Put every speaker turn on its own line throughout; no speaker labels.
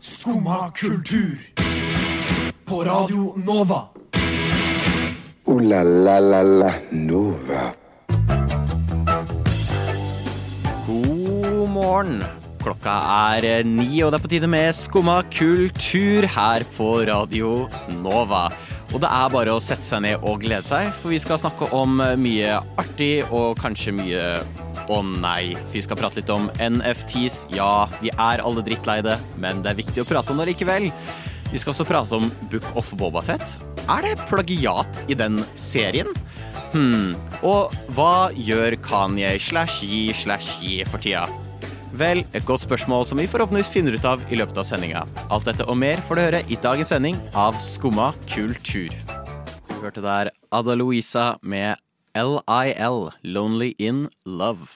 Skumma kultur. På Radio Nova.
Ooh la la la la Nova.
God morgen. Klokka er eh, ni, og det er på tide med Skumma kultur her på Radio Nova. Og det er bare å sette seg ned og glede seg, for vi skal snakke om eh, mye artig og kanskje mye å nei. Vi skal prate litt om NFTs. Ja, vi er alle drittleide, men det er viktig å prate om det likevel. Vi skal også prate om Book of Bobafett. Er det plagiat i den serien? Hmm. Og hva gjør Kanye slash Yi slash Yi for tida? Vel, et godt spørsmål som vi forhåpentligvis finner ut av i løpet av sendinga. Alt dette og mer får du høre i dagens sending av Skumma kultur. Du hørte der Ada Louisa med LIL, Lonely in Love.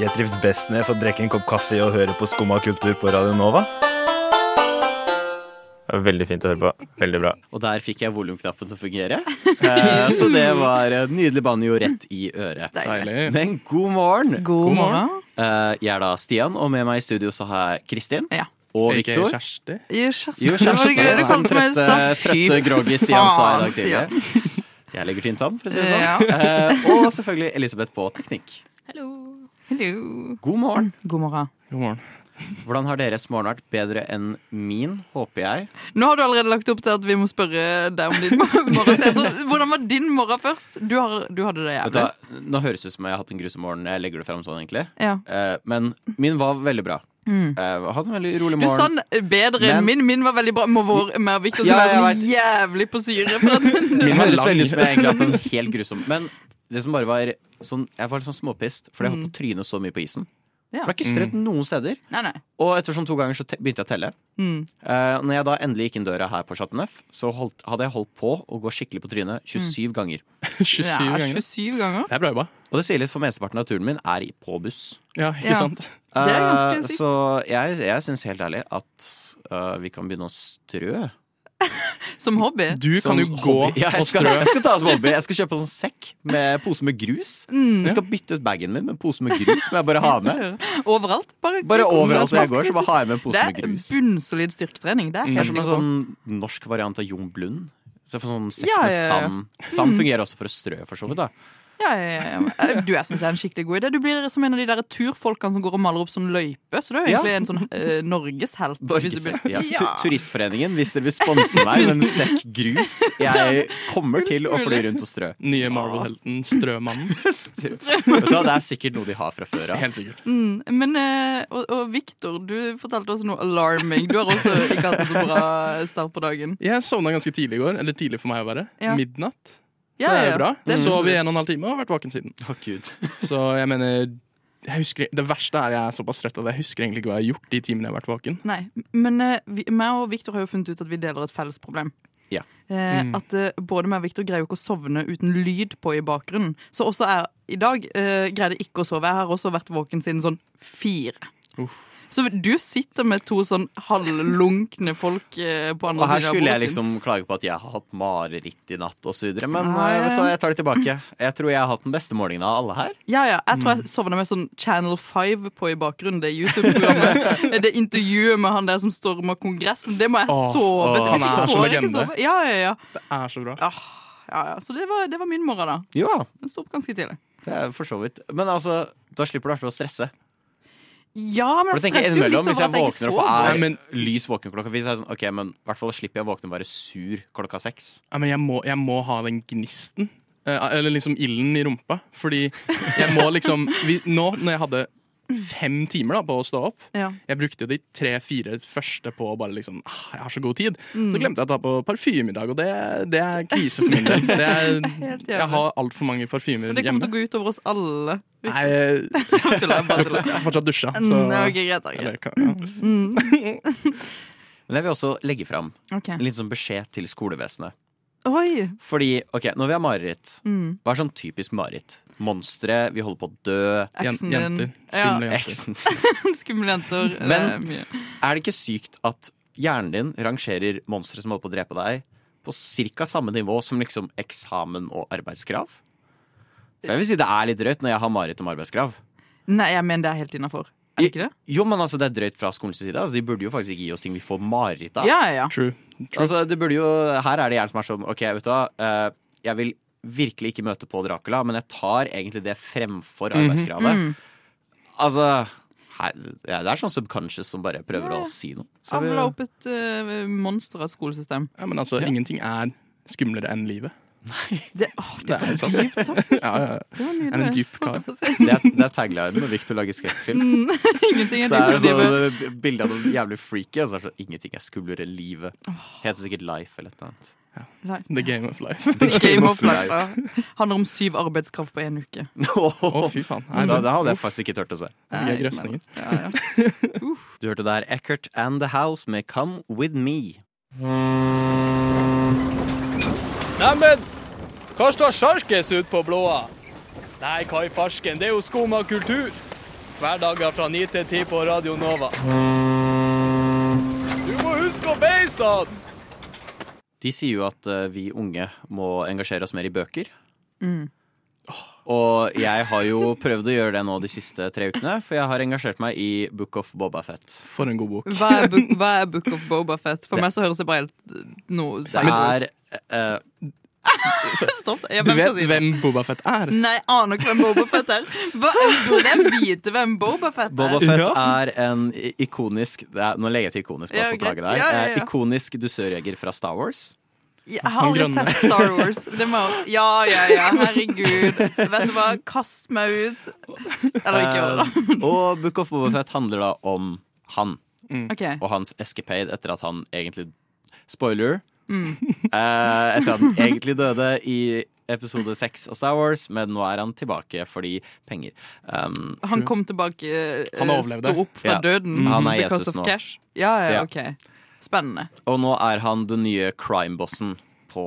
Jeg trives best når jeg får drikke en kopp kaffe og høre på Skumma kultur på Radio Nova.
Veldig fint å høre på. Veldig bra.
Og der fikk jeg volumknappen til å fungere. Eh, Så det var en nydelig banjo rett i øret.
Deilig.
Men god morgen!
God morgen.
Eh, Jeg er da Stian, og med meg i studio så har jeg Kristin
Ja.
og
Ikke
Viktor.
Kjersti.
Jo, kjæreste.
Jo,
Det var gøy
kjæreste
du
som
kom med,
trøtte,
Staff. Fy
trøtte groggy Stian sa i dag
faen, Stian.
tidlig. Jeg legger tynt an, for å si det sånn.
Ja.
Eh, og selvfølgelig Elisabeth på teknikk.
Hello.
God morgen.
God morgen.
God morgen.
Hvordan har deres morgen vært? Bedre enn min, håper jeg.
Nå har du allerede lagt opp til at vi må spørre deg om din morgen. Så jeg tror- hvordan var din morgen først? Du, har, du hadde det
Vet
jævlig.
du, hva? nå høres det ut som jeg har hatt en grusom morgen. Jeg legger det frem sånn, egentlig.
Ja.
Eh, men min var veldig bra. Mm. hatt en veldig rolig
Du sa
morgen.
den bedre
Men-
enn min. Min var veldig bra. Må vår mer Victor som
Ja,
er
jeg
så jævlig på syre. For at,
Min
var
høres
lang.
veldig ut som jeg egentlig har hatt en helt grusom Men det som bare var sånn, jeg var litt sånn småpist, fordi jeg holdt på å tryne så mye på isen.
Mm. Ja. Mm.
For det er ikke strødd noen steder.
nei, nei.
Og ettersom to ganger så te begynte jeg å telle.
Mm.
Eh, når jeg da endelig gikk inn døra her på Chateauneuf, så holdt, hadde jeg holdt på å gå skikkelig på trynet 27
Mm.
ganger.
27
Ja,
ganger.
27 ganger.
Det er bra jobba.
Og det sier litt, for mesteparten av turen min er i- på buss.
Ja, ikke
Ja.
sant?
er ganske
Eh,
sykt.
så jeg, jeg syns helt ærlig at eh, vi kan begynne å strø.
Som hobby.
Du
Som
kan jo gå
hobby. ja, jeg
og
skal,
strø.
jeg skal ta det som hobby. Jeg skal kjøpe en sånn sekk med pose med grus.
Mm.
Jeg skal bytte ut bagen min med en pose med grus som jeg bare har med.
Overalt. Bare,
Bare overalt hvor jeg går, så bare har jeg med en pose
Det
med
er
grus.
bunnsolid styrketrening. Det er jeg
Det
helt
er som en
sikker på.
sånn norsk variant av Jon Blund. Så jeg får sånn sekk
Ja,
med
ja, ja.
sand. Sand fungerer også for å strø, for så vidt. da
Ja, ja, ja, ja. Du, jeg synes det er en skikkelig god idé. Du blir som en av de der turfolkene som går og maler opp sånn løype. Så du er jo
Ja.
egentlig en sånn uh, norgeshelt. hvis du blir-
Norgesrekk, ja. Tu
Ja.
Turistforeningen, hvis dere vil sponse meg med en sekk grus Jeg kommer til å fly rundt og strø.
Nye Marvel-helten Strømannen.
Vet du hva, Det er sikkert noe de har fra før av.
Helt sikkert.
Mm, Men, eh, og, og Victor, du fortalte oss noe alarming. Du har også ikke hatt en så bra start på dagen.
Jeg sovna ganske tidlig i går. Eller tidlig for meg å være.
Ja.
Midnatt. Så
Ja,
det er
ja,
jo bra.
det
Mm.
er
Sov i
bunnsolid.
en og en halv time og har vært våken siden.
Å, Gud.
Så jeg mener jeg husker, Det verste er jeg er såpass trøtt at jeg husker egentlig ikke hva jeg har gjort de timene jeg har vært våken.
Nei, men eh, vi, meg og Victor har jo funnet ut at vi deler et felles problem.
Ja.
Eh, At eh, både meg og Victor greier jo ikke å sovne uten lyd på i bakgrunnen. Så også jeg i dag eh, greide ikke å sove. Jeg har også vært våken siden sånn fire. Så du sitter med to sånn halvlunkne folk eh, på
Og
andre
her
siden av
skulle jeg
bordet. sitt.
liksom klage på at jeg har hatt mareritt i natt osv., men
Nei.
eh, vet du hva, jeg tar det tilbake. Jeg tror jeg har hatt den beste morgenen av alle her.
Ja, ja, Jeg tror jeg sovna med sånn Channel 5 på i bakgrunnen. Det YouTube-programmet. Det intervjuet med han der som storma Kongressen. Det må jeg
Åh,
sove til.
åh,
Hvis
han
ikke
er så
får jeg ikke
legende.
sove. Ja, ja, ja.
Det er så bra.
Ah, ja, ja. Så det var, det var min morgen, da.
Ja,
Den sto opp ganske tidlig.
det er for så vidt. Men altså, da slipper du i hvert fall å stresse.
Ja, men
For jeg
jeg
tenker
stresser jo litt
innimellom
over
Hvis jeg
at jeg
våkner
ikke
opp og
sover.
er
Nei, men-
lys våken klokka fire, så er jeg sånn OK, men i hvert fall slipper jeg å våkne og være sur klokka seks.
Ja, men jeg må, jeg må ha den gnisten. Eh, eller liksom ilden i rumpa. Fordi jeg må liksom vi, Nå når jeg hadde fem timer da, på å stå opp
Ja.
Jeg brukte jo de tre-fire første på å bare liksom ah, Jeg har så god tid.
Mm.
Så glemte jeg å ta på parfyme i dag, og det, det er krise for min del. Det er,
Helt jævlig.
jeg har altfor mange
Men
parfymer
det kommer
hjemme.
til å gå ut over oss alle. Vi
Nei, jeg
tuller, bare tuller.
har fortsatt dusja, så
Mm, ja, ok, greit, da,
eller,
greit.
kan, ja.
Mm,
Men jeg vil også legge fram
Ok.
en liten sånn beskjed til skolevesenet.
Oi!
Fordi, ok, når vi har mareritt,
Mm.
hva er sånn typisk mareritt? Monstre, vi holder på å dø,
Eksen
Jen-
din.
Jenter.
Ja,
Skumle jenter.
eksen.
skumle jenter. det
Men-
er mye.
Er det ikke sykt at hjernen din rangerer monstre som holder på å drepe deg, på cirka samme nivå som liksom eksamen og arbeidskrav? For jeg vil si det er litt drøyt når jeg har mareritt om arbeidskrav.
Nei, jeg mener det er helt innafor. Er det ikke det?
Jo, men altså, det er drøyt fra skolens side. Altså, de burde jo faktisk ikke gi oss ting vi får mareritt av.
Ja, ja, ja.
True. True.
Altså, det burde jo, her er det gjerne som er sånn Ok, vet du hva eh, Jeg vil virkelig ikke møte på Dracula Men jeg tar egentlig det fremfor arbeidskravet
Mm.
Altså her, ja, Det er sånn subconscious som bare prøver
Ja, ja.
å si noe Så vi-
Avla opp et eh, monster av et skolesystem.
Ja, men altså, ingenting er skumlere enn livet.
Det, åh, det
Det er
var
sant.
dypt
sånn.
sagt.
Ja, ja, ja.
Det var
En
nydelig.
dyp kar.
Det er, det er taglinen når Victor lager skrekkfilm
Mm, Ingenting
Så er
er
det
dypt.
sånn eh, bilde av noen jævlig freaky Og så er det sånn, ingenting jeg skumler i livet Heter sikkert Life eller et eller annet
The game of life.
Game of Life. ja. Handler om syv arbeidskraft på én uke.
Å, fy faen. Nei,
Da,
da,
da hadde jeg faktisk ikke tørt å se
Nei,
Nei,
grøsninger.
men- Ja, ja.
Du hørte der Eckert and The House med Come With Me.
Neimen, hva står sjarkes ut på blåa? Nei, hva i farsken, det er jo skum av kultur. Hverdager fra 9 til 10 på Radio Nova. Du må huske å beise han!
De sier jo at eh, vi unge må engasjere oss mer i bøker.
Mm.
Og jeg har jo prøvd å gjøre det nå de siste tre ukene, for jeg har engasjert meg i Book of Bobafett.
For en god bok.
Hva er, Book, hva er Book of Boba Fett? For meg så høres det bare helt eh, noe
Det er eh,
Stopp. Ja,
Du
hvem skal
vet
si det?
hvem Boba Fett er?
Nei, jeg aner ikke hvem Boba Fett er. Hva, burde jeg vite hvem Boba Fett er?
Boba Fett
Ja.
er en i- ikonisk det er, Nå legger jeg til ikonisk, bare
Ja,
for å
greit.
plage deg.
Ja, ja,
Eh,
ja.
Ikonisk dusørjeger fra Star Wars.
Jeg har aldri
grønne.
sett Star Wars. Det må, ja, ja, ja. Herregud. Vet du hva, kast meg ut. Eller ikke gjør det, da.
Eh, og Book of Bobafett handler da om han.
Ok,
og hans escapade etter at han egentlig Spoiler! Eh, etter at han egentlig døde i episode seks av Star Wars, men nå er han tilbake fordi penger. Um,
Han kom tilbake, eh,
Han overlevde.
sto opp fra
Ja.
døden
Han er
because
Jesus
of
nå.
cash. Ja, ja,
Ja.
ok. Spennende.
og nå er han den nye crime-bossen på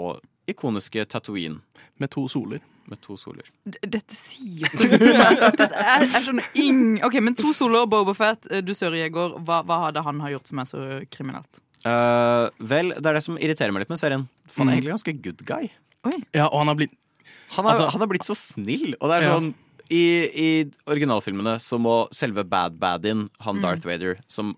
ikoniske Tatooine
Med to soler.
med to soler.
D- Dette sier så lite om meg. Dette er, jeg skjønner ing... Ok, men to soloer, Boba Fett, eh, dusørjeger. Hva, hva hadde han har gjort som er så kriminelt?
Eh, vel, det er det som irriterer meg litt med serien. For han er egentlig ganske good guy.
Ja, og han har blitt
Han er,
Altså-
han er blitt så snill, og det er
Ja.
sånn i, I originalfilmene så må selve Bad Baddin,
Mm.
han Darth Vader, som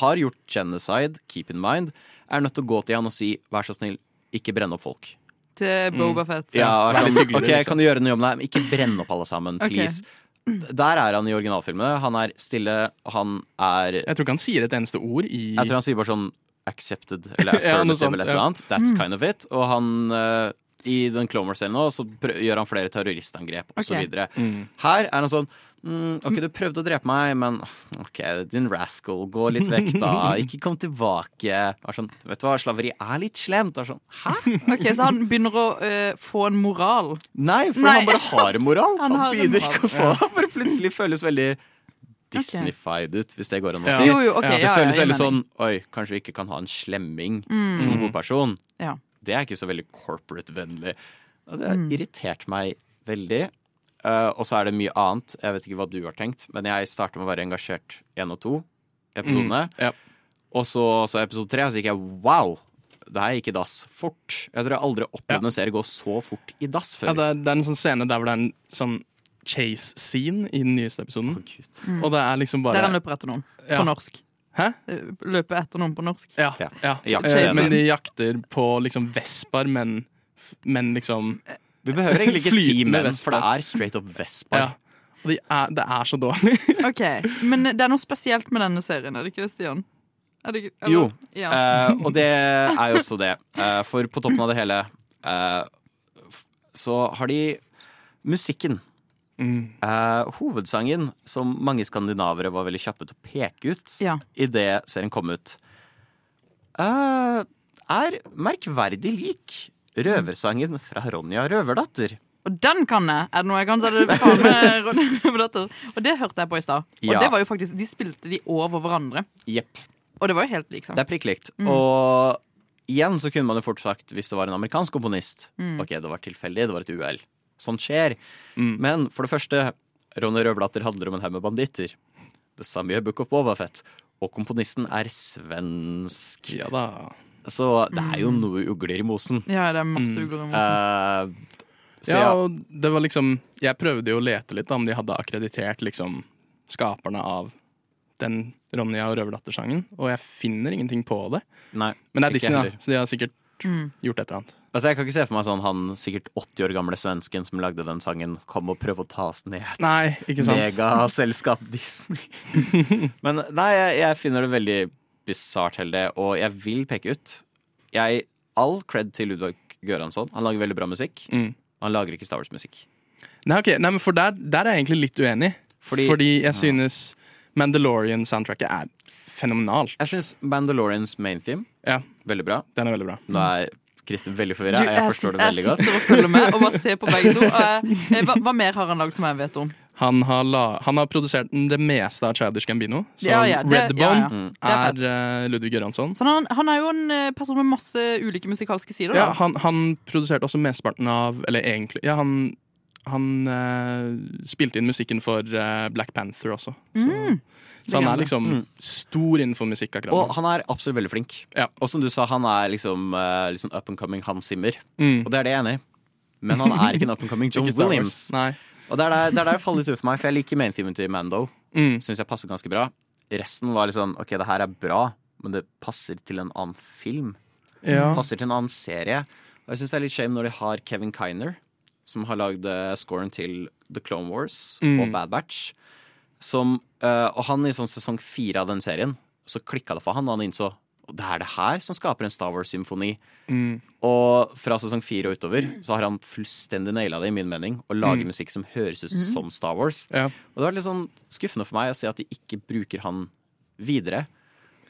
har gjort genocide, keep in mind, er nødt til å gå til han og si vær så snill, ikke brenne opp folk.
Til Boba Fett.
Mm. Ja, og er
vær litt
sånn,
hyggelig,
ok,
liksom.
Kan du gjøre den jobben der, men ikke brenne opp alle sammen,
Ok.
please. Der er han i originalfilmene. Han er stille, han er
Jeg tror ikke han sier et eneste ord i
Jeg tror han sier bare sånn accepted eller
Ja, noe
affirmative
sånt,
eller et eller
ja.
annet.
Mm.
That's kind of it. Og han eh, i den Clomers-serien nå, så prø- gjør han flere terroristangrep og så
Ok.
videre. Her er han sånn mm, OK, du prøvde å drepe meg, men OK, din rascal, gå litt vekk, da. Ikke kom tilbake. Er sånn, vet du hva, slaveri er litt slemt. Er sånn, Hæ?
Ok, Så han begynner å eh, få en moral.
Nei, for
Nei.
han bare har en moral.
Han
Han,
har en
begynner
moral.
ikke å få Han bare plutselig føles veldig Disneyfied ut, hvis det går an å
Ja.
si.
Jo, jo, ok,
Ja, det
ja,
Det føles
ja, jeg
veldig
mener. Mm.
sånn Oi, kanskje vi ikke kan ha en slemming som hovedperson.
Ja.
Det er ikke så veldig corporate-vennlig. Og Det har
Mm.
irritert meg veldig. Eh, og så er det mye annet. Jeg vet ikke hva du har tenkt, men jeg startet med å være engasjert én og to episodene.
Mm, ja.
Og så, så episode tre, og så gikk jeg wow! Det her gikk i dass fort. Jeg tror jeg aldri har opplevd en serie gå så fort i dass før.
ja, det, er, det er en sånn scene der hvor det er en sånn chase-scene i den nyeste episoden.
Gud.
Og det er liksom bare
Der han løper etter noen
Ja.
på norsk.
Hæ?
Eh, Løper etter noen på norsk.
Ja,
Ja.
ja.
Jaktscene.
Eh, Men de jakter på liksom vespaer, men, men liksom
Vi behøver egentlig ikke si
Flytende
menn,
vespa.
for det er straight up vespa.
Ja. Og de er, det er så dårlig.
Ok, Men det er noe spesielt med denne serien, er det ikke det, Stian? Er det ikke, eller-
Jo.
Ja.
Eh, og det er jo også det. Eh, for på toppen av det hele eh, f- så har de musikken. Eh, hovedsangen, som mange skandinavere var veldig kjappe til å peke ut
Ja.
idet serien kom ut, eh, er merkverdig lik røversangen fra Ronja Røverdatter.
Og den kan jeg! Er det noe jeg kan, så er det faen meg Ronny Røverdatter. Og det hørte jeg på i stad. Og
Ja.
det var jo faktisk, de spilte de over hverandre.
Jepp.
Og det var jo helt liksom.
Det er prikk likt.
Mm.
Og igjen så kunne man jo fort sagt, hvis det var en amerikansk komponist
Mm.
Ok, det var tilfeldig, det var et uhell. Sånt skjer. Men for det første, Ronny Røverdatter handler om en haug med banditter. Det samme gjør Book of Bobafett. Og komponisten er svensk.
Ja da.
Så det er
Mm.
jo noe ugler i mosen.
Ja, det er masse
Mm.
ugler i altså. mosen.
Eh, så
Ja,
ja,
og det var liksom Jeg prøvde jo å lete litt da, om de hadde akkreditert liksom skaperne av den Ronja og røverdatter-sangen, og jeg finner ingenting på det.
Nei,
Men det
ikke
er Disney,
heller.
da, så de har sikkert gjort et eller annet.
Altså, jeg kan ikke se for meg sånn han sikkert 80 år gamle svensken som lagde den sangen, kom og prøvde å ta oss ned.
Nei, ikke sant?
Megaselskap Disney. Men nei, jeg, jeg finner det veldig bisart hele det, og jeg vil peke ut jeg, All cred til Ludvig Göransson. Han lager veldig bra musikk.
Mm.
Han lager ikke Star Wars-musikk.
Nei, ok, Nei, men for der, der er jeg egentlig litt uenig.
Fordi-
Fordi, jeg synes Mandalorian-soundtracket er fenomenalt.
Jeg syns Mandalorians main theme
Ja,
veldig bra.
den er veldig bra.
Nå er Kristin veldig
Du,
forvirra. Jeg forstår det
sit-
veldig
jeg
godt.
sitter og følger med og bare ser på begge to. og jeg- jeg- Hva, hva mer har han lagd som jeg vet om?
Han har, la, han har produsert det meste av Childish Gambino. Så
Ja, ja, det-
Redbone
ja, ja.
Mm.
er,
Det
eh, Ludvig Göransson.
Så han, han er jo en eh, person med masse ulike musikalske sider.
Ja,
Da.
han, han produserte også mesteparten av Eller egentlig Ja, han, han eh, spilte inn musikken for eh, Black Panther også. Så,
Mm.
så han
Legende.
er liksom
Mm.
stor innenfor musikk akkurat
Og
nå.
han er absolutt veldig flink.
Ja.
Og som du sa, han er liksom, eh, liksom up and coming Hans Zimmer.
Mm.
Og det er det jeg er enig i. Men han er ikke en up and coming John
Ikke Star Wars.
Williams.
Nei.
Og det er der det er der det faller litt ut for meg, for jeg liker mainthemen til Mando.
Mm.
Syns jeg passer ganske bra. Resten var liksom OK, det her er bra, men det passer til en annen film.
Ja.
Passer til en annen serie. Og jeg syns det er litt shame når de har Kevin Kiner, som har lagd eh, scoren til The Clone Wars
Mm.
og Bad Batch. Som, eh, og han i sånn sesong fire av den serien, så klikka det for han, og han innså «Å, det er det her som skaper en Star Wars-symfoni.
Mm.
Og fra sesong fire og utover så har han fullstendig naila det, i min mening, å lage musikk som høres ut som Star Wars.
Mm. Mhm. Ja.
Og det var litt sånn skuffende for meg å se at de ikke bruker han videre.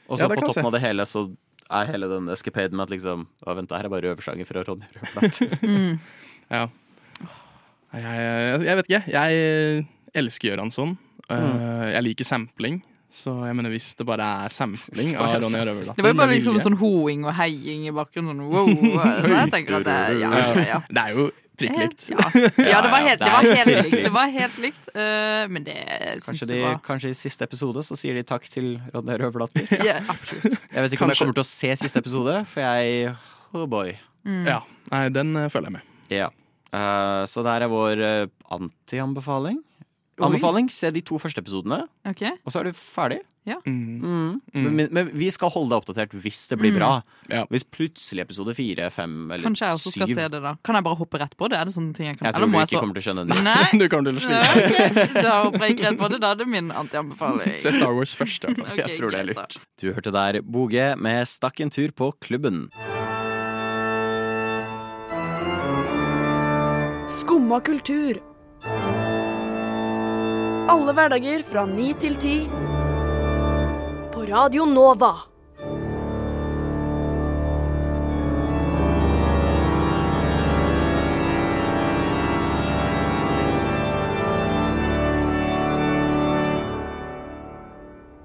Og så
Ja, det
på
kan jeg
toppen
se.
av det hele så er hele den escapaden med at liksom Å, vent, det her er bare røversanger fra Ronny Røverdatt.
Ja. Nei, Jeg, jeg, jeg vet ikke. Jeg elsker Göransson. Eh, jeg liker sampling. Så jeg mener hvis det bare er sampling av Ronny og
Det
Røverdatter
var jo bare
med
liksom
vilje-
sånn hoing og heiing i bakgrunnen. Sånn, wow, så jeg tenker at det, ja, ja, ja.
Det er jo prikk likt.
Ja. ja, det var helt, det var
Ja, ja,
helt
det er
likt. Det var helt likt eh, men det syns
Kanskje,
jeg
de,
var
kanskje i siste episode så sier de takk til Ronny Røverdatter.
ja, Absolutt.
Jeg vet ikke om jeg
Kanskje.
kommer til å se siste episode, for jeg Oh boy.
Mm.
Ja. Nei, den eh, føler jeg med.
Ja. Eh, så der er vår eh, anti-anbefaling.
Oi.
Anbefaling, se de to første episodene,
Ok.
og så er du ferdig.
Mm.
Mm. Men, men vi skal holde deg oppdatert hvis det blir
Mm.
bra.
Ja.
Hvis plutselig episode fire, fem eller
Kanskje jeg også
syv
skal se det, da. Kan jeg bare hoppe rett på det? Er det sånne ting jeg kan
Jeg tror
Eller må
vi
jeg
ikke
så
kommer til å skjønne det.
Nei,
Du kommer til å slite.
ok, da hopper jeg ikke rett på det. Da er det min antianbefaling.
Se Star Wars først. Ja.
Ok,
Jeg tror det er
greit da.
lurt. Du hørte der Boge med 'Stakk en tur på klubben'.
Skumma kultur. Alle hverdager fra ni til ti. På Radio Nova.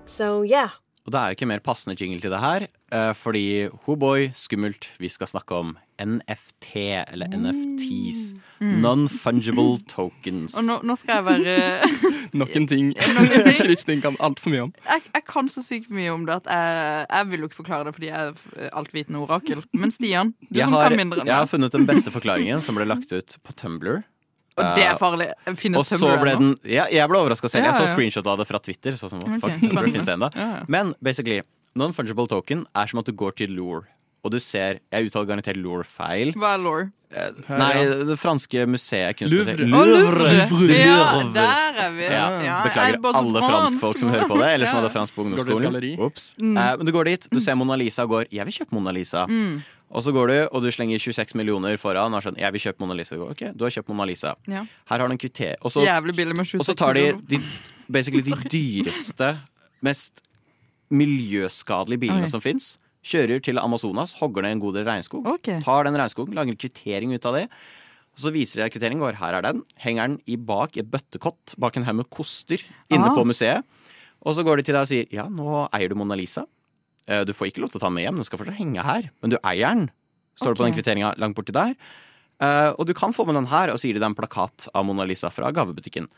So yeah.
Og det er jo ikke mer passende jingle til det her, eh, fordi hoboy, skummelt, vi skal snakke om NFT, eller
Mm.
NFTs. Non-fungible tokens.
Og nå, nå skal jeg være
Nok en ting
Nok en ting.
Kristin kan altfor mye om.
jeg, jeg kan så sykt mye om det at jeg, jeg vil jo ikke forklare det fordi jeg er f- eh, altvitende orakel. Men Stian, du
jeg
som
har,
kan mindre enn
jeg har
meg,
funnet den beste forklaringen, som ble lagt ut på Tumblr.
og det er farlig. Finnes
Og så
Tumblr
ble
ennå?
den ja, Jeg ble overraska selv.
Ja,
Jeg så
ja.
screenshot av det fra Twitter. Så som, what the
Ok,
fuck, Tumblr
spennende.
finnes det enda.
Ja, ja.
Men basically, non-fungible token er som at du går til Lure, og du ser Jeg uttaler garantert Lure feil.
Hva er law?
Eh, Nei, det franske museet
Louvre.
kunstmuseet
Å, Louvre!
Louvre.
Ja, der er vi.
Ja,
Ja, jeg er
Beklager
bare så
alle franskfolk som
fransk.
hører på det, eller som
Ja. Mm.
hadde fransk på
til et
ungdomsskolen.
galleri?
Ops. Eh, men du går dit, du ser Mona Lisa og går 'jeg vil kjøpe Mona Lisa'.
Mm.
Og så går du og du slenger 26 millioner foran og er sånn 'jeg vil kjøpe Mona Lisa'. Og går, ok, du har kjøpt Mona Lisa.
Ja.
Her har du en kvitter. Og så
Jævlig billig med 26
og så tar de,
kroner.
de basically de dyreste, mest miljøskadelige bilene
Ok.
som fins. Kjører til Amazonas, hogger ned en god del regnskog.
Ok.
Tar den regnskogen, lager en kvittering ut av det. Og så viser de kvitteringen, går her er den. Henger den i bak i et bøttekott bak en haug med koster inne
Ah.
på museet. Og så går de til deg og sier ja, nå eier du Mona Lisa. Eh, Du får ikke lov til å ta den med hjem, den skal fortsatt henge her. Men du eier den, står det på
Ok.
den kvitteringa langt borti der. Eh, og du kan få med den her, og så gir de deg en plakat av Mona Lisa fra gavebutikken.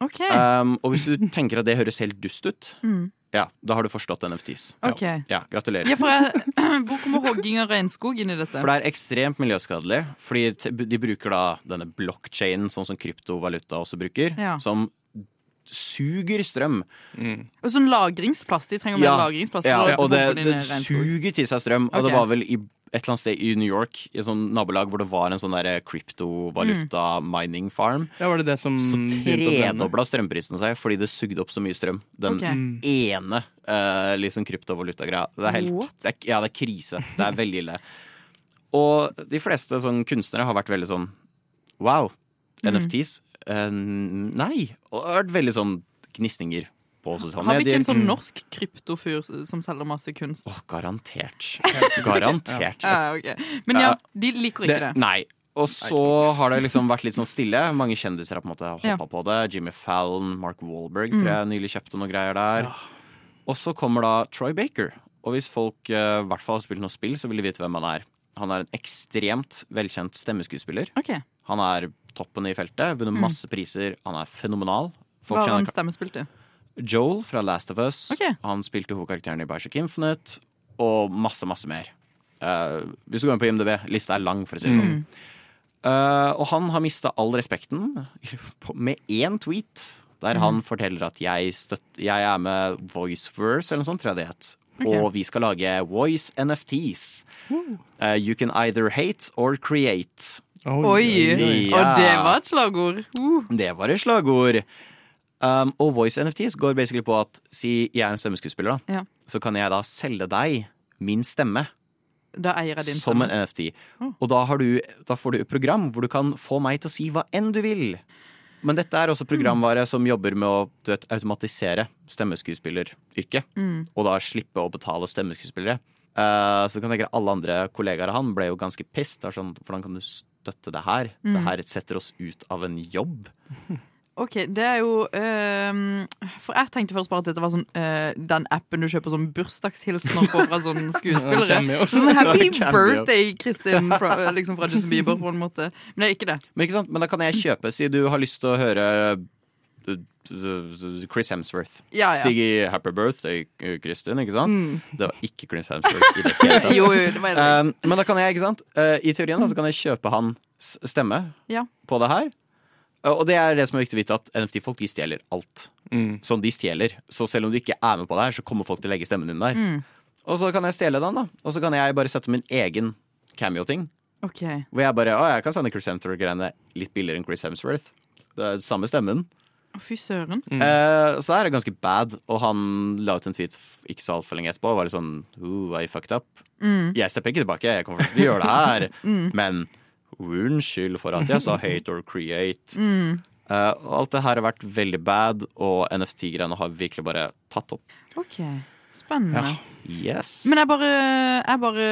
Ok,
Um, og hvis du tenker at det høres helt dust ut,
Mm.
ja, da har du forstått NFTs.
ok.
Ja, gratulerer.
Ja, for jeg, hvor kommer hogging av regnskog inn i dette?
For det er ekstremt miljøskadelig. Fordi t- de bruker da denne blokkjeden, sånn som kryptovaluta også bruker,
Ja.
som suger strøm.
Og sånn lagringsplass. De trenger mer lagringsplass.
ja,
for å
og det,
pumpe
det
ned i regnskog.
suger til seg strøm. Og
Ok.
det var vel i et eller annet sted i New York, i et sånt nabolag hvor det var en sånn der
Mm.
kryptovaluta-mining farm.
Ja, var det det som
Så
Mm, begynte å brenne? Mm.
tredobla strømprisen seg fordi det sugde opp så mye strøm. Den
Ok.
ene eh, liksom kryptovaluta-greia. Det er helt
What?
det er, Ja, det er krise. Det er veldig ille. Og de fleste sånn kunstnere har vært veldig sånn Wow,
Mm.
NFTs? Eh, nei. Og det har vært veldig sånn gnisninger på sosiale
Har vi ikke
medier.
en sånn norsk kryptofyr som selger masse kunst?
Åh, garantert. Garantert.
Ja, ok. Men ja, de liker ikke det.
Nei. Og så har det liksom vært litt sånn stille. Mange kjendiser har på en måte hoppa
Ja. Mm.
på det. Jimmy Fallon, Mark Wahlberg tror jeg nylig kjøpte noen greier der. Og så kommer da Troy Baker. Og hvis folk eh, i hvert fall har spilt noe spill, så vil de vite hvem han er. Han er en ekstremt velkjent stemmeskuespiller.
Ok,
Han er toppen i feltet, vunnet masse priser. Han er fenomenal.
Mm. Hva
Folk
har
kjenner
han stemmespilt i?
Joel fra Last of Us.
Ok.
Han spilte hovedkarakteren i Bioshock Infinite. Og masse, masse mer. Eh, hvis du går inn på IMDb, lista er lang, for å si det sånn. Eh, og han har mista all respekten på- med én tweet, der han forteller at jeg, støtt, jeg er med VoiceVerse, eller noe sånt, tror jeg det het. Og vi skal lage Voice NFTs. Eh, you can either hate or create.
Oi!
Ja.
Og det var et slagord. Uh.
Det var et slagord. Um, og voice NFTs går basically på at si jeg er en stemmeskuespiller, da.
Ja.
Så kan jeg da selge deg min stemme
Da eier jeg din
som en NFT. Og da, har du, da får du et program hvor du kan få meg til å si hva enn du vil. Men dette er også programvare som jobber med å du vet, automatisere stemmeskuespilleryrket. Og da slippe å betale stemmeskuespillere. Eh, så du kan tenke deg Alle andre kollegaer av han ble jo ganske pissed. Det er Sånn, hvordan kan du støtte det her? Det her setter oss ut av en jobb.
Ok, det er jo ehm, For jeg tenkte først bare at dette var sånn eh, den appen du kjøper sånn bursdagshilsener på fra sånne skuespillere.
Cameo.
Sånn happy
Cameo.
birthday, Kristin, fra, liksom fra Justin Bieber, på en måte. Men det er ikke det.
Men, ikke sant? Men da kan jeg kjøpe, si du har lyst til å høre uh, uh, Chris Hemsworth.
Ah, Ja, ja.
Siggy Happy Birthday, uh, Kristin. Ikke sant? Det var ikke Chris Hemsworth. i det hele tatt.
Jo, jo, det var det.
Um, men da kan jeg, ikke sant? Uh, I teorien da, så kan jeg kjøpe hans stemme
Eh, Ja.
på det her. Uh, Og det er det som er viktig å vite, at NFT-folk de stjeler alt.
Mm.
Sånn de stjeler. Så selv om du ikke er med på det her, så kommer folk til å legge stemmen din der.
Mm.
Og så kan jeg stjele den, da. Og så kan jeg bare sette min egen cameo-ting.
Ok.
Hvor jeg bare, å jeg kan sende Chris Hemsworth-greiene litt billigere enn Chris Hemsworth. Det er samme stemmen.
Å, Fy søren.
Eh, så det er ganske bad. Og han la ut en tweet f- ikke så altfor lenge etterpå. Og var litt sånn Ooh, I fucked up. Jeg stepper ikke tilbake, jeg kommer til å gjøre det her. Men unnskyld for at jeg sa hate or create. Eh, og alt det her har vært veldig bad, og NFT-greiene har virkelig bare tatt opp.
Ok, Spennende.
Yes.
Men jeg bare, jeg bare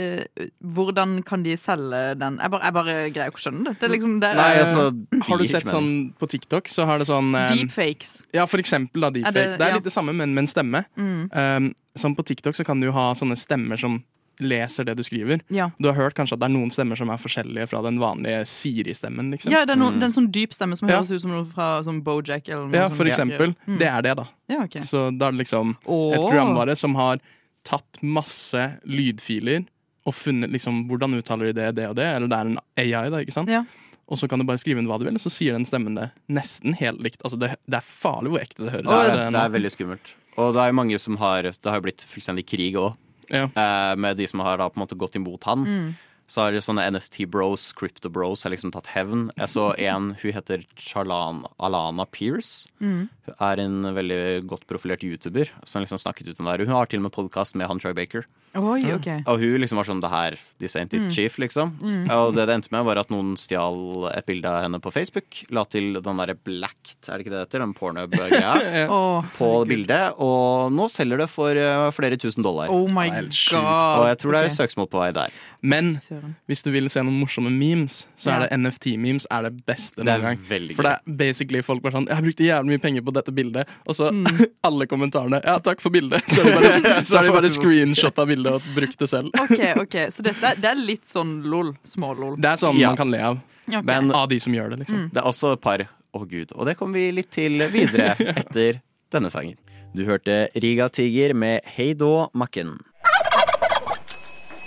eh, Hvordan kan de selge den? Jeg bare, jeg bare greier ikke å skjønne det. det er liksom, det er,
Nei, altså,
Har du
gir
sett
ikke mening.
sånn på TikTok, så har det sånn eh,
Deepfakes.
Ja, for eksempel da, deepfake.
Er det-
det, er
ja. Mm.
litt det samme, men med en stemme. Um, som på TikTok så kan du ha sånne stemmer som leser det du skriver.
Ja.
Du har hørt kanskje at det er noen stemmer som er forskjellige fra den vanlige Siri-stemmen. liksom.
Ja, det er, noen, det er en sånn dyp stemme som
Ja.
høres ut som noe fra sånn Bojack. Eller noe
Ja,
sånt. Mm.
for eksempel. Det er det, da.
Ja, ok.
Så da er det liksom et
Åh.
programvare som har tatt masse lydfiler og funnet liksom hvordan uttaler de det, det og det, eller det er en AI, da, ikke sant?
Ja.
Og så kan du bare skrive inn hva du vil, og så sier den stemmen det nesten helt likt. Altså, det, det er farlig hvor ekte det høres
Det
ut.
er, det er veldig skummelt. Og det er jo mange som har Det har jo blitt fullstendig krig òg,
Ja.
eh, med de som har da på en måte gått imot han. Så har det sånne NFT-bros, crypto-bros, har liksom tatt hevn. Jeg så en, hun heter Charlan Alana Pierce. Hun er en veldig godt profilert youtuber som liksom snakket ut om det her. Hun har til og med podkast med han Troy Baker.
Oi, ok.
Og hun liksom var sånn det her, this ain't it chief, liksom. Og det det endte med, var at noen stjal et bilde av henne på Facebook. La til den derre blacked, er det ikke det det heter? Den pornhub-greia.
Åh,
På bildet. Og nå selger det for eh, flere tusen dollar.
oh my
helt sjukt.
god.
Og jeg tror det er
Ok.
søksmål på vei der.
Men
Søren.
hvis du vil se noen morsomme memes, så
Ja.
er det NFT-memes er det beste
Det
noen
er
gang.
veldig
For det
gøy.
er basically folk bare sånn Jeg brukte jævlig mye penger på dette bildet, og så
Mm.
alle kommentarene Ja, takk for bildet. Så er det bare, så er det bare screenshot av bildet og brukt det selv.
Ok, ok, Så dette er- det er litt sånn lol. Små-lol.
Det er sånn
Ja.
man kan le av.
Ok.
Men
Av de som gjør det,
Mm.
liksom.
det er også et par, å gud. Og det kommer vi litt til videre etter denne sangen. Du hørte Riga Tiger med Hei då, Makken.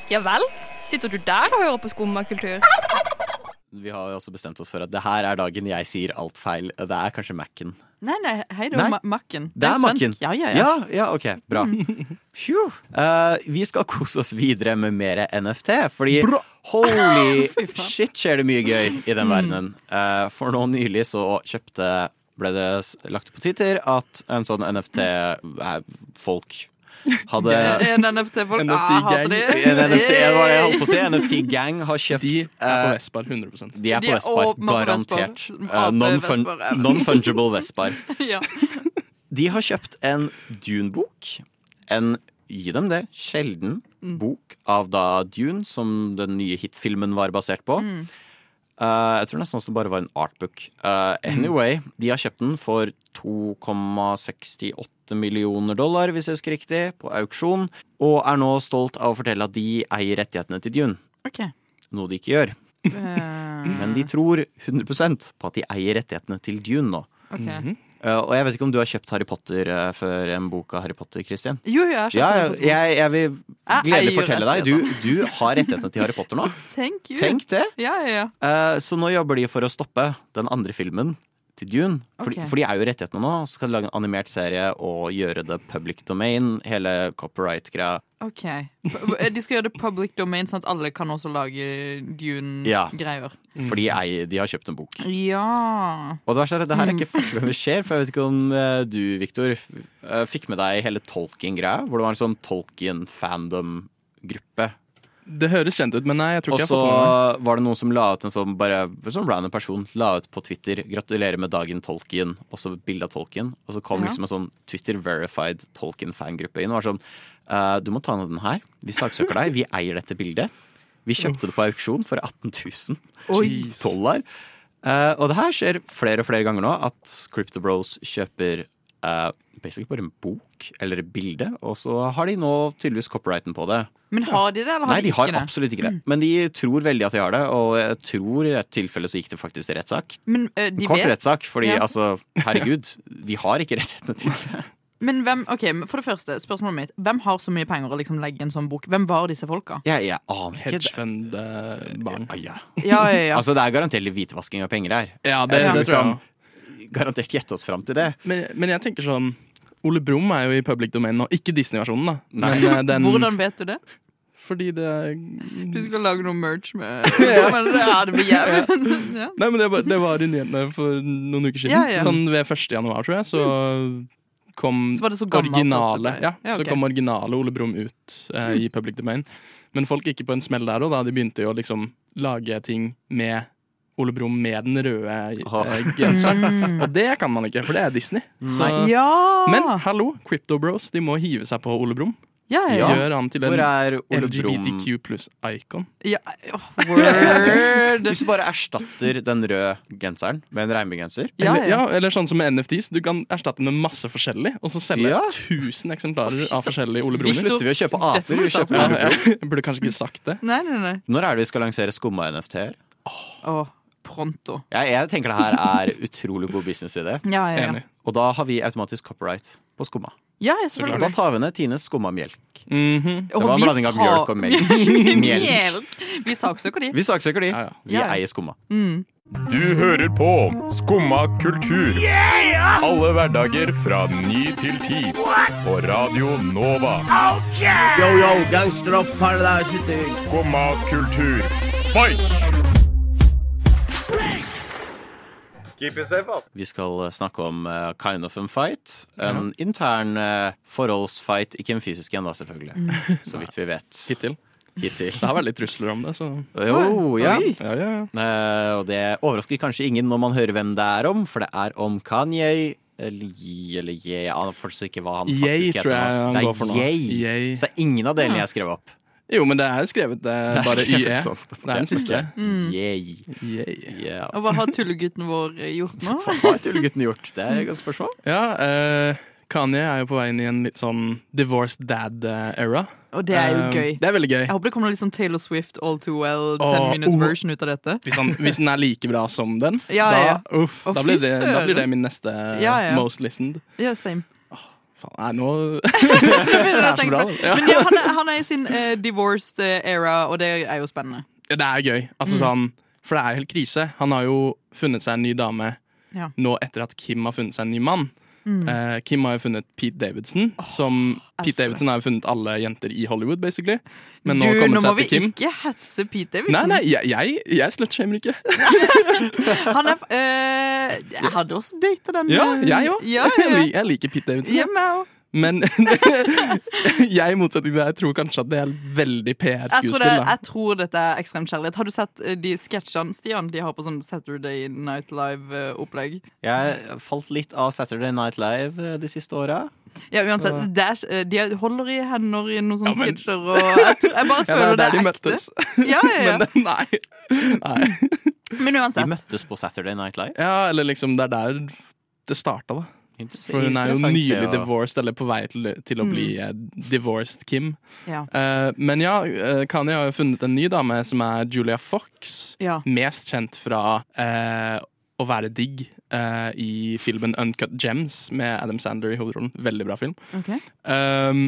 Ja vel? Sitter du der og hører på skummakultur?
vi har jo også bestemt oss for at det her er dagen jeg sier alt feil. Det er kanskje Mac-en.
Nei, nei, hei, det
Nei.
er Ma- Macken.
Det er
jo svensk.
Macken.
Ja, ja, Mm. ja.
Ja, ja, ok, bra. Phew. Eh, vi skal kose oss videre med mer NFT, fordi holy shit skjer det mye gøy i
Mm.
den verdenen. Eh, for nå nylig så kjøpte ble det s- lagt på Twitter at en sånn NFT-folk hadde
Eh, En NFT-folk.
En
Ah, hater de.
NFT-gang.
En NFT, det var det jeg holdt på å si. NFT-gang har kjøpt
De er på
eh,
Vestbar 100
de er
De
på
er
Vestbar,
åpenbart på
garantert.
Vestbar.
Eh, non-fun-
Vestbar, ja.
Non-fungible Vestbar.
Ja.
De har kjøpt en Dune-bok. En, gi dem det, sjelden bok av da Dune, som den nye hitfilmen var basert på. Eh, jeg tror nesten også det bare var en artbook. Eh, anyway, de har kjøpt den for 2,68 millioner dollar, hvis jeg husker riktig, på auksjon. Og er nå stolt av å fortelle at de eier rettighetene til Dune.
Ok.
Noe de ikke gjør.
Eh,
Men de tror 100 på at de eier rettighetene til Dune nå.
ok.
Eh, og jeg vet ikke om du har kjøpt Harry Potter eh, før en bok av Harry Potter, Christian?
Jo, jo, jeg har skjønt
Ja,
det.
jeg, jeg vil
Ah, Jeg
gledelig
eier
fortelle deg. Du, du har rettighetene til Harry Potter nå.
Thank you.
Tenk det!
Ja, ja, ja.
Eh, så nå jobber de for å stoppe den andre filmen til Dune. For,
Ok.
for de er jo rettighetene nå. Så skal de lage en animert serie og gjøre det public domain. Hele copyright-greia.
Ok. Eh, De skal gjøre det public domain, sånn at alle kan også lage Dune-greier.
For de, eier, de har kjøpt en bok.
Ja.
Og det verste er at det her er ikke
Mm.
første gang det skjer, for jeg vet ikke om eh, du, Victor, eh, fikk med deg hele Tolkien-greia. Hvor det var en sånn Tolkien-fandom-gruppe
Det høres kjent ut, men nei, jeg tror
Og
ikke jeg
så
har fått det med meg.
var det noen som la ut en sånn bare en sånn random person la ut på Twitter 'Gratulerer med dagen, Tolkien', og så bilde av Tolkien. Og så kom
Ja.
liksom en sånn Twitter-verified Tolkien-fangruppe inn og var sånn «Eh, 'Du må ta ned den her. Vi saksøker deg. Vi eier dette bildet.' Vi kjøpte det på auksjon for 18 000
Oi.
dollar. Eh, og det her skjer flere og flere ganger nå, at Crypto Bros kjøper eh, basically bare en bok eller et bilde, og så har de nå tydeligvis copyrighten på det.
Men har de det, eller har
Nei, de
ikke
har
det? Mm.
absolutt ikke det. Men de tror veldig at de har det, og jeg tror i et tilfelle så gikk det faktisk til rettssak.
Men, eh, de
Kort
vet.
rettssak, fordi
Ja.
altså, herregud, de har ikke rettighetene til det.
Men hvem, ok, men for det første, spørsmålet mitt Hvem har så mye penger å liksom legge i en sånn bok? Hvem var disse folka?
Jeg, jeg aner ikke det.
Hedgefund-barn.
Ah, ja.
Ja, ja, ja
Altså, det er garantert litt hvitvasking av penger her.
Ja, det,
Jeg tror
det
vi
tror jeg.
kan- Garantert gjette oss fram til det.
Men, men jeg tenker sånn Ole Brumm er jo i public domain nå. Ikke Disney-versjonen, da. Men eh, den
Hvordan vet du det?
Fordi det
Du skal lage noe merch med Men det, ja, det blir jævlig ja.
Nei, men det, var- det var i nyhetene for noen uker siden.
Ja, ja.
Sånn ved 1. januar, tror jeg, så kom
Så var det så gammelt at
originale
det ble-
Ja,
Ja, ok. Mm.
så kom originale Ole Brumm ut eh, i public domain. Men folk gikk på en smell der òg, da. De begynte jo å liksom lage ting med Ole Brumm med den røde eh,
Åh.
genseren. Og det kan man ikke, for det er Disney. Så,
Mm. ja.
eh, Men hallo, Crypto Bros de må hive seg på Ole Brumm.
ja, ja, ja.
Gjør han til
Hvor
en
er Ole Brumm?
LGBTQ pluss-icon.
ja. åh, Word
Hvis du bare erstatter den røde genseren med en regnbuegenser
Ja,
Eller,
ja.
ja, eller sånn som med NFTs. Du kan erstatte den med masse forskjellig, og så selge
Ja.
1000 eksemplarer av forskjellige Ole
Nå
Brummer.
slutter vi å kjøpe
Dette
aper.
må
Vi
du stoppe.
kjøper
Ja,
Ole
ja.
Brumm.
Jeg burde kanskje ikke sagt det.
Nei, nei, nei
Når er det vi skal lansere skumma NFT-er?
Åh, pronto
Jeg, jeg tenker det her er utrolig god businessidé.
Ja, ja, ja
Enig.
Og da har vi automatisk copyright på skumma.
Ja, ja,
Og da
selvfølgelig
tar vi ned Tines skumma melk.
Mhm.
Åh,
var en
vi
blanding av
sa-
mjølk og melk.
Mjølk Vi saksøker de
Vi saksøker de.
Ja, ja.
Vi
Ja, ja.
eier skumma.
Du hører på Skumma kultur. Alle hverdager fra ny til ti. På Radio Nova. Skumma kultur. Fight!
Vi skal eh, snakke om eh, kind of a fight. En intern eh, forholdsfight. Ikke en fysisk en, da,
Mm.
selvfølgelig. Så vidt vi vet.
Hittil.
Hittil.
Det har vært litt trusler om det, så
Jo, ja.
ja, ja, ja.
Eh, og det overrasker kanskje ingen når man hører hvem det er om, for det er om Kanye. Eller Ye, eller Ye. Jeg aner fortsatt ikke hva han faktisk
Ye,
heter.
tror jeg
nå.
han
det er
går for nå.
Ye.
Ye.
Så det er ingen av delene jeg skrev opp.
Jo, men det er skrevet eh, bare
skrevet
YE.
sånn.
Det er den siste.
Mm.
Ye.
Yay.
Yeah.
Og hva har tullegutten vår eh, gjort nå?
Hva har tullegutten gjort? Det er et godt spørsmål.
Ja, eh, Kanye er jo på vei inn i en litt sånn divorced dad-era.
Og det er jo gøy
Eh, Det er veldig gøy.
Jeg håper det kommer noe litt sånn Taylor Swift All Too Well 10
Åh,
minutes
oh.
version ut av dette
Hvis, han, hvis den er like bra som den,
Ja,
da,
ja, ja.
Uff,
Å,
da,
fy
blir det, da
søren.
blir det min neste
Ja, ja.
most listened.
Ja, same
Faen, nei, nå
Det begynner jeg å
Det er så
tenke
bra,
på.
da. Ja.
Men ja, han, er, han er i sin eh, divorced eh, era, og det er jo spennende.
Det er gøy. Altså sånn For det er jo helt krise. Han har jo funnet seg en ny dame
Ja.
nå etter at Kim har funnet seg en ny mann.
Mm.
Eh, Kim har jo funnet Pete Davidson. som Pete
elsker det.
Davidson har jo funnet alle jenter i Hollywood, basically. Men nå
du,
kommer
nå
det
må
seg
vi
til Kim.
ikke liksom- hetse Pete
Nei,
Davidson.
nei, jeg, jeg, jeg slutshamer ikke.
Han er, eh, jeg hadde også data den.
Ja,
eh,
jeg òg.
Ja, ja,
Jeg
ja.
lik- jeg liker Pete Davidson.
Ja, meg òg.
Men jeg, i motsetning til deg, tror kanskje at det er veldig
Jeg tror, det,
PR-skuespill. da.
jeg tror dette er ekstremt kjærlighet. Har du sett eh, de sketsjene Stian de har på sånn Saturday Night eh, Live-opplegg?
Jeg falt litt av Saturday Night Live eh, de siste åra.
Ja, uansett. Det er, eh, de holder i hender i noen sånne
Ja, men-
sketsjer, og jeg, tror, jeg bare
Ja, det
føler
er der
det
de
er ekte.
møttes.
Ja, ja, ja.
Men nei. nei.
Men
De
uansett.
møttes på Saturday Night Live.
Ja, eller liksom det er der det starta, da.
Interessant-
For hun er jo
interessant sted
nylig
å- Mm.
divorced, eller på vei til, til å bli eh, divorced Kim.
Ja.
Eh, men ja, eh, Kanye har jo funnet en ny dame som er Julia Fox.
Ja.
Mest kjent fra eh, å være digg eh, i filmen Uncut Gems med Adam Sander i hovedrollen. Veldig bra film.
ok.
Um,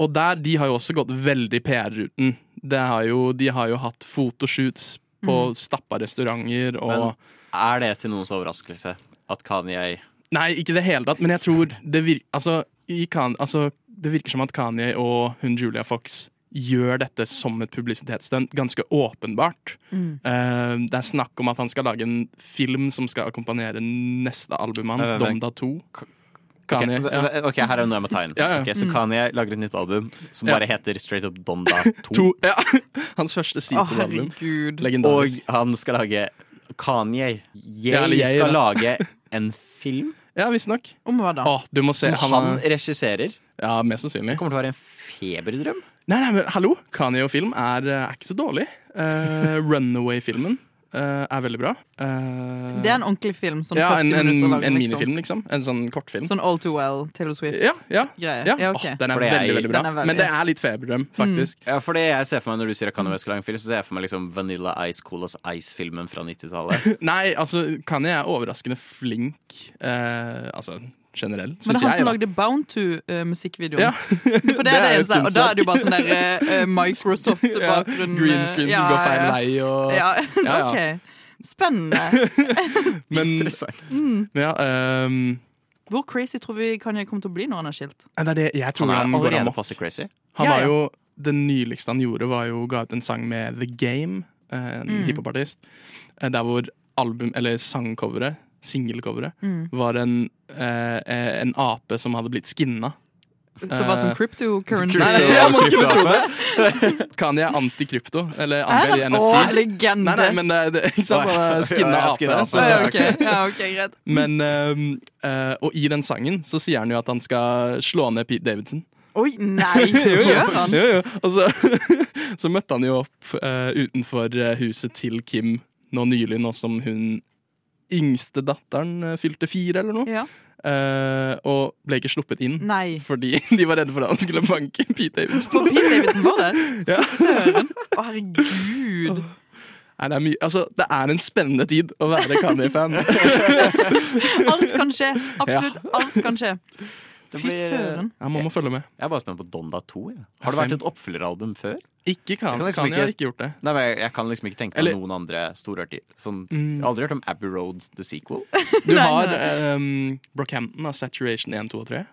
og der, de har jo også gått veldig PR-ruten. Det har jo, de har jo hatt fotoshoots på stappa restauranter og
Mm. Men er det til noens overraskelse at Kanye
Nei, ikke i det hele tatt, men jeg tror det virker altså, i kan, altså, det virker som at Kanye og hun Julia Fox gjør dette som et publisitetsstunt, ganske åpenbart.
Mm.
Eh, det er snakk om at han skal lage en film som skal akkompagnere neste albumet hans,
Vent, vent, vent.
Donda 2.
K-
Kanye.
Ok,
ja.
ok, her er noe jeg må ta inn.
Ja, ja.
Ok, så Kanye lager et nytt album som
Ja.
bare heter Straight Up Donda 2.
To, ja. Hans første
Å,
sequel-album.
herregud.
Legendarisk.
Og han skal lage Kanye. Jeg,
Ja, eller jeg,
skal
da.
lage en film
Ja, visstnok.
Om hva da?
Å, du må se.
som
Han,
han,
han
regisserer. Det
Ja, mest sannsynlig.
kommer til å være en feberdrøm.
Nei, nei, men hallo! Kanye og film er, eh, er ikke så dårlig. Eh, Runaway-filmen eh, er veldig bra. Eh,
Det er en ordentlig film. Sånn
ja,
40
en, en,
minutter lang.
en
liksom.
minifilm, liksom. En sånn kortfilm.
Sånn All Too Well, Taylor Swift-greie.
ja, ja. ja.
Ja, ok.
Åh, den er
For det er-
veldig, veldig bra.
den er veldig- Mm.
Men det er litt feberdrøm, faktisk.
Ja, for det jeg ser for meg Når du sier at Kanye West skal lage en film, så ser jeg for meg liksom Vanilla Ice Colas Ice-filmen fra 90-tallet.
Nei, altså, Kanye er overraskende flink. eh, altså generelt,
Men det er
syns
han
jeg.
som
da.
lagde Bound To-musikkvideoen.
Ja.
For det er det,
jo
eneste. Og da er det jo bare sånn
kunstverk.
der eh,
ja,
Microsoft-bakgrunn. eh,
Green screen som går feil vei og
Ja,
Ja, ja.
ok. Spennende.
Men, men ja, ehm,
Hvor crazy tror vi Kanye kommer til å bli når han er skilt?
nei, det er det jeg tror
Han
han,
er
går
allerede
amok.
passe crazy.
Han
Ja,
var
ja.
jo, Det nyligste han gjorde, var jo ga ut en sang med The Game, en hiphopartist. eh, Der hvor album, eller sangcoveret, singelcoveret, var en, eh, eh, en ape som hadde blitt skinna.
Så bare som cryptocurrency.
Eh, Nei, nei, jeg må ikke tro det! Kan jeg antikrypto? Eller
Å,
anti-NFT?
legende!
Nei, nei, men det, det, ikke sant? Bare Skinna
Ja, ja,
ape.
skinna ape.
altså.
Å, ja, ok, ja, ok, greit.
Men, eh, eh, og i den sangen så sier han jo at han skal slå ned Pete Davidson.
Oi, nei! Gjør han?
Jo, jo. Og så, så møtte han jo opp eh, utenfor eh, huset til Kim nå nylig, nå som hun yngste datteren eh, fylte fire eller noe,
Ja.
eh, og ble ikke sluppet inn.
Nei.
Fordi de var redde for at han skulle banke Pete
For
Davidson.
Pete Davidson var der?
Ja.
Søren! Å, herregud.
Nei, det, er mye, altså, det er en spennende tid å være Kanye-fan.
Alt kan skje. Absolutt alt kan skje. Fy
blir,
søren.
Ja, man må følge med.
Jeg er bare spent på Donda 2. Ja. Har det vært et oppfølgeralbum før?
Ikke
Jeg
kan,
kan
kan,
liksom
jeg har
ikke-
ikke gjort det.
Nei, men jeg, jeg kan liksom ikke tenke
Eller-
på noen andre storartig sånn, Jeg har aldri hørt om Abbey Road The Sequel.
Du
Nei,
har
nei.
ehm, Brockhampton av Saturation 1, 2 og 3.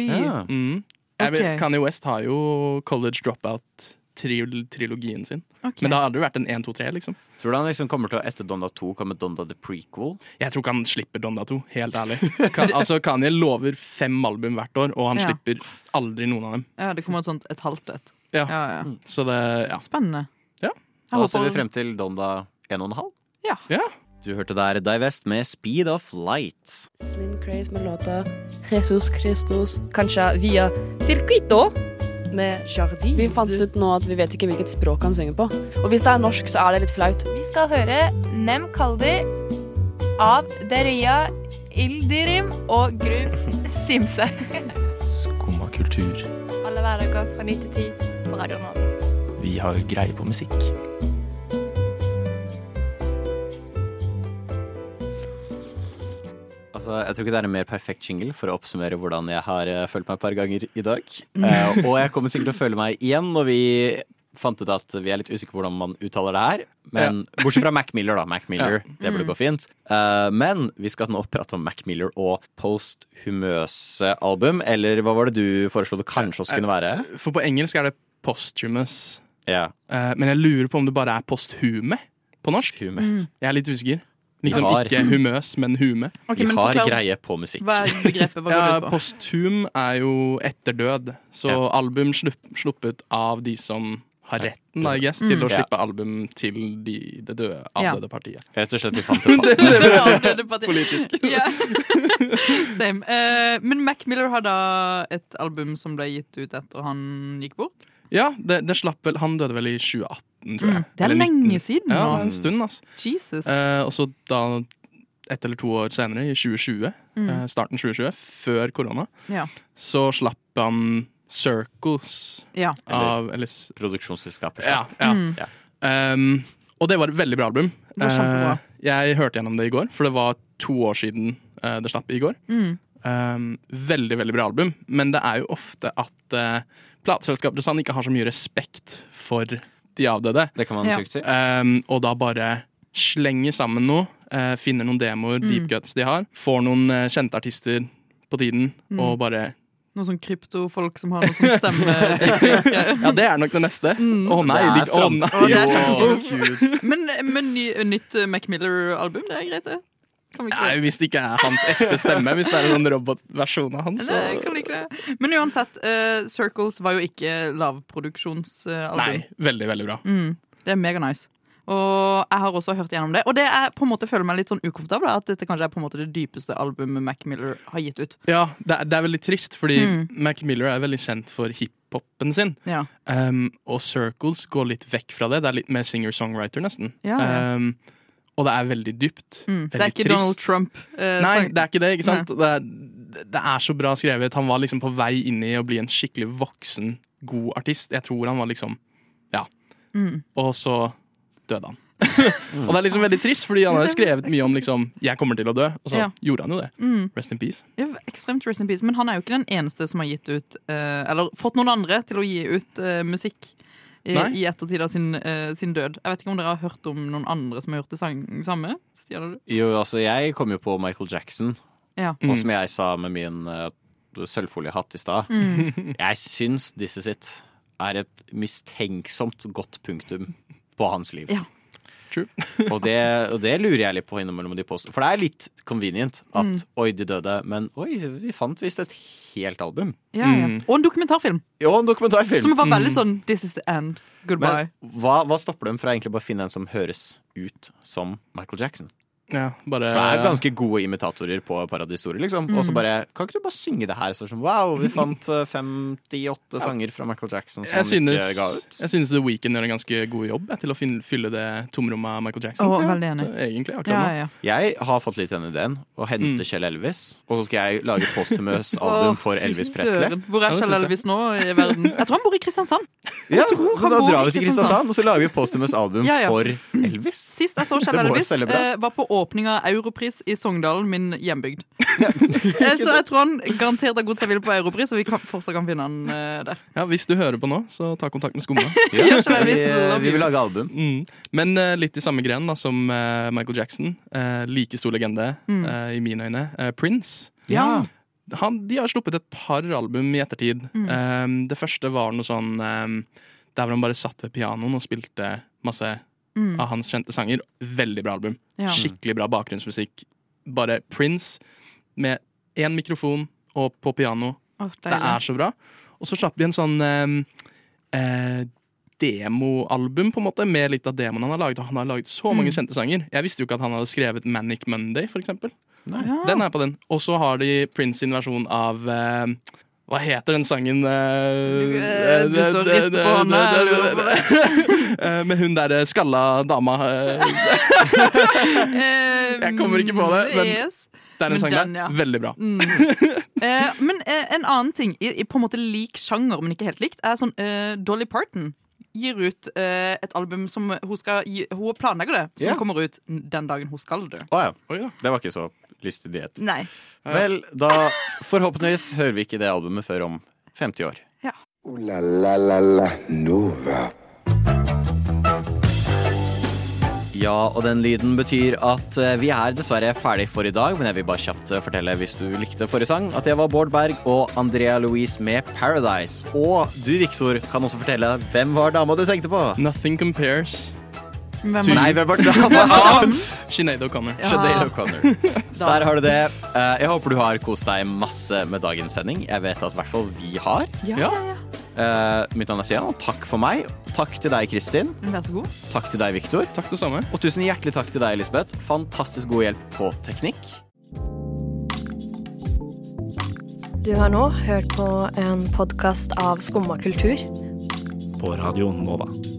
Ja.
Mm. Jeg vet,
Ok.
Kanye West har jo College Dropout-trilogien sin.
ok.
Men det har aldri vært en 1, 2, 3, liksom.
Tror du han liksom kommer til å etter Donda 2 komme Donda The Prequel?
Jeg tror ikke han slipper Donda 2, helt ærlig. Kan, altså, Kanye lover fem album hvert år, og han
Ja.
slipper aldri noen av dem.
Ja, det kommer et sånt et halvt et.
Ja.
Ja, ja.
Så det ja.
Spennende.
Ja.
Jeg
Da ser vi
håper
frem til Donda 1,5.
Ja.
Ja.
Du hørte der Dai West med Speed of Light.
Slim Craze med låta Jesus Christus Kanskje via Circuito med Jardin. Vi fant ut nå at vi vet ikke hvilket språk han synger på. Og hvis det er norsk, så er det litt flaut.
Vi skal høre Nem Kaldi av Deria Ildirim og Grub Simse.
Skumma kultur.
Alle hverdager fra 9 til 10 på Radio Nova.
Vi har greie på musikk.
Altså, jeg tror ikke det er en mer perfekt jingle for å oppsummere hvordan jeg har eh, følt meg et par ganger i dag. Eh, og jeg kommer sikkert til å føle meg igjen når vi fant ut at vi er litt usikre på hvordan man uttaler det her. Men Bortsett fra Mac Miller, da. Mac Miller,
Ja.
Det burde gå fint. Eh, men vi skal nå prate om Mac Miller og posthumøse album. Eller hva var det du foreslo det kanskje også kunne være?
For på engelsk er det posthumous.
Ja.
Eh, men jeg lurer på om det bare er posthume på norsk.
Mm.
Jeg er litt usikker. Liksom
Vi har-
ikke humøs, men hume.
vi
Ok, men
har
forklar-
greie på musikk.
Hva er begrepet? Hva går
ja,
det ut på?
Posthum er jo etter død, så
Ja.
album slupp, sluppet av de som har retten da, I guess, til
Mm.
å
Ja.
slippe album til de, det døde,
Ja.
avdøde partiet.
Rett og slett vi fant det fram.
Politisk.
Ja. Same. Eh, men Mac Miller har da et album som ble gitt ut etter han gikk bort.
Ja, det, det slapp vel Han døde vel i 2018, tror jeg.
Mm, det er
Eller 19.
lenge siden
Ja,
nå.
det er en stund, altså.
Jesus.
Eh, og så da, ett eller to år senere, i 2020,
Mm.
eh, starten 2020, før korona,
Ja.
så slapp han Circles
Ja.
av eller, s-
Produksjonsselskapet.
Ja, ja.
Mm.
Um, og det var et veldig bra album.
Det var kjempebra.
Eh, jeg hørte gjennom det i går, for det var to år siden eh, det slapp i går.
Mm.
Um, veldig, veldig bra album, men det er jo ofte at uh, plateselskaper og sånn ikke har så mye respekt for de avdøde.
Det kan man
Ja.
trygt si.
Um, og da bare slenger sammen noe, eh, finner noen demoer,
Mm.
deep guts de har, får noen eh, kjente artister på tiden,
Mm.
og bare
Noen sånn kryptofolk som har noe sånn som stemmer.
Ja, det er nok det neste. Å nei!
Det er
de- Å
fram-
nei!
Mm. Å, det er
Åh, cute.
men men ny, nytt eh, Mac Miller-album, det er greit, det. Kan vi ikke
Nei, hvis det ikke er hans ekte stemme, hvis det er en robotversjon av han, så
Det kan like det. Men uansett, eh, Circles var jo ikke lavproduksjonsalbum.
Nei, veldig, veldig bra.
Mm, det er mega nice. Og jeg har også hørt gjennom det. Og det er på en måte føler meg litt sånn ukomfortabel at dette kanskje er på en måte det dypeste albumet Mac Miller har gitt ut.
Ja, det er, det er veldig trist, fordi
Mm.
Mac Miller er veldig kjent for hiphopen sin.
Ja.
Um, og Circles går litt vekk fra det. Det er litt mer singer-songwriter, nesten.
Ja, ja.
Um, og det er veldig dypt.
Mm. Det er
Veldig
ikke
trist.
Donald Trump. eh,
Nei,
sang-
det er ikke det. ikke sant? Det er, det er så bra skrevet. Han var liksom på vei inn i å bli en skikkelig voksen, god artist. Jeg tror han var liksom Ja.
Mm.
Og så døde han. og det er liksom veldig trist, fordi han har skrevet mye om liksom 'jeg kommer til å dø', og så
Ja.
gjorde han jo det.
Mm.
Rest in peace.
Ja, Ekstremt rest in peace. Men han er jo ikke den eneste som har gitt ut eh, Eller fått noen andre til å gi ut eh, musikk i,
Nei.
i ettertid av sin, eh, sin død. Jeg vet ikke om dere har hørt om noen andre som har gjort det sang samme? Stian, har du?
Jo, altså, jeg kom jo på Michael Jackson,
Ja.
og som jeg sa med min eh, sølvfoliehatt i stad,
Mm.
jeg syns This Is It er et mistenksomt godt punktum på hans liv.
Ja.
True.
og, det, og det lurer jeg litt på innimellom de postene. For det er litt convenient at
Mm.
oi, de døde, men oi, vi fant visst et helt album.
Ja, ja. Og en dokumentarfilm!
Jo, en dokumentarfilm.
Som var veldig sånn This is the end. Goodbye.
Men hva, hva stopper dem fra egentlig bare å finne en som høres ut som Michael Jackson?
Ja, bare,
For
Eh.
det er ganske gode imitatorer på Paradis-historier, liksom.
Mm.
Og så bare Kan ikke du bare synge det her? Så er det sånn, wow, vi fant eh, 58 sanger fra Michael Jackson som
jeg
han ikke ga
synes,
ut.
jeg synes The Weeknd gjør en ganske god jobb jeg, til å fin- fylle det tomrommet av Michael Jackson.
Å, veldig enig.
Egentlig, akkurat
Ja,
nå.
ja, ja.
Jeg har fått litt den ideen. Å hente
Mm.
Kjell Elvis. Og så skal jeg lage posthumøs album
Å,
for
fy
Elvis
søren.
Presley.
Hvor
Ja,
er Kjell
det synes jeg.
Elvis nå i verden? Jeg tror han bor i Kristiansand.
Ja,
han
Da
bor
drar
i
vi til Kristiansand, og så lager vi posthumøs album
Ja, ja.
for Elvis.
Sist jeg så Kjell
Det må jo
Elvis,
selge bra.
eh, var på åpninga av Europris i Sogndalen, min hjembygd. Eh, så jeg tror han garantert har gått seg vill på Europris, og vi kan, fortsatt kan finne han eh, der.
Ja, hvis du hører på nå, så ta kontakt med Skumma.
Ja,
Kjell
vi,
Elvis, love
vi
you.
vil lage album.
Mm. Men eh, litt i samme gren da, som eh, Michael Jackson. eh, like stor legende
Mm.
eh, i mine øyne. Eh, Prince.
Ja.
Han, de har sluppet et par album i ettertid.
Mm.
Eh, det første var noe sånn eh, der hvor han bare satt ved pianoen og spilte masse
Mm,
av hans kjente sanger. Veldig bra album.
ja.
Skikkelig bra bakgrunnsmusikk. Bare Prince med én mikrofon og på piano.
Å,
Det
deilig.
er så bra. Og så slapp de en sånn eh, eh, demoalbum, på en måte, med litt av demoen han har laget. Og han har laget så mange
Mm.
kjente sanger. Jeg visste jo ikke at han hadde skrevet Manic Monday, for eksempel.
Ja.
Den er på den. Og så har de Prince sin versjon av eh, hva heter den sangen eh,
Eh, du står og rister på hånda, jeg lurer
Eh, Med hun derre skalla dama eh,
Eh,
Jeg kommer ikke på det, men-
yes.
Det er
Men
en sang
den,
der.
ja.
Veldig bra.
Mm. Eh, men eh, en annen ting, i, i på en måte lik sjanger, men ikke helt likt, er sånn eh, Dolly Parton gir ut eh, et album som hun skal gi, Hun planlegger det, som
Ja.
kommer ut den dagen hun skal dø.
Å ja.
Oi da.
Det var ikke så lystig diett.
Nei.
Vel, da forhåpentligvis hører vi ikke det albumet før om 50 år.
Ooh la la la la Nova.
Ja, og den lyden betyr at eh, vi er dessverre ferdig for i dag, men jeg vil bare kjapt eh, fortelle, hvis du likte forrige sang, at det var Bård Berg og Andrea Louise med 'Paradise'. Og du, Viktor, kan også fortelle hvem var dama du tenkte på?
Nothing compares.
Hvem Nei, hvem var dama?
Sinead O'Connor.
Ja. O'Connor. Så der har du det. Eh, Jeg håper du har kost deg masse med dagens sending. Jeg vet at i hvert fall vi har.
Ja, ja, ja.
Eh, Mitt navn er Sian, og takk for meg. Takk til deg, Kristin.
Vær så god.
Takk til deg, Viktor. Og tusen hjertelig takk til deg, Elisabeth. Fantastisk god hjelp på teknikk.
Du har nå hørt på en podkast av Skumma kultur.
På Radio Nova.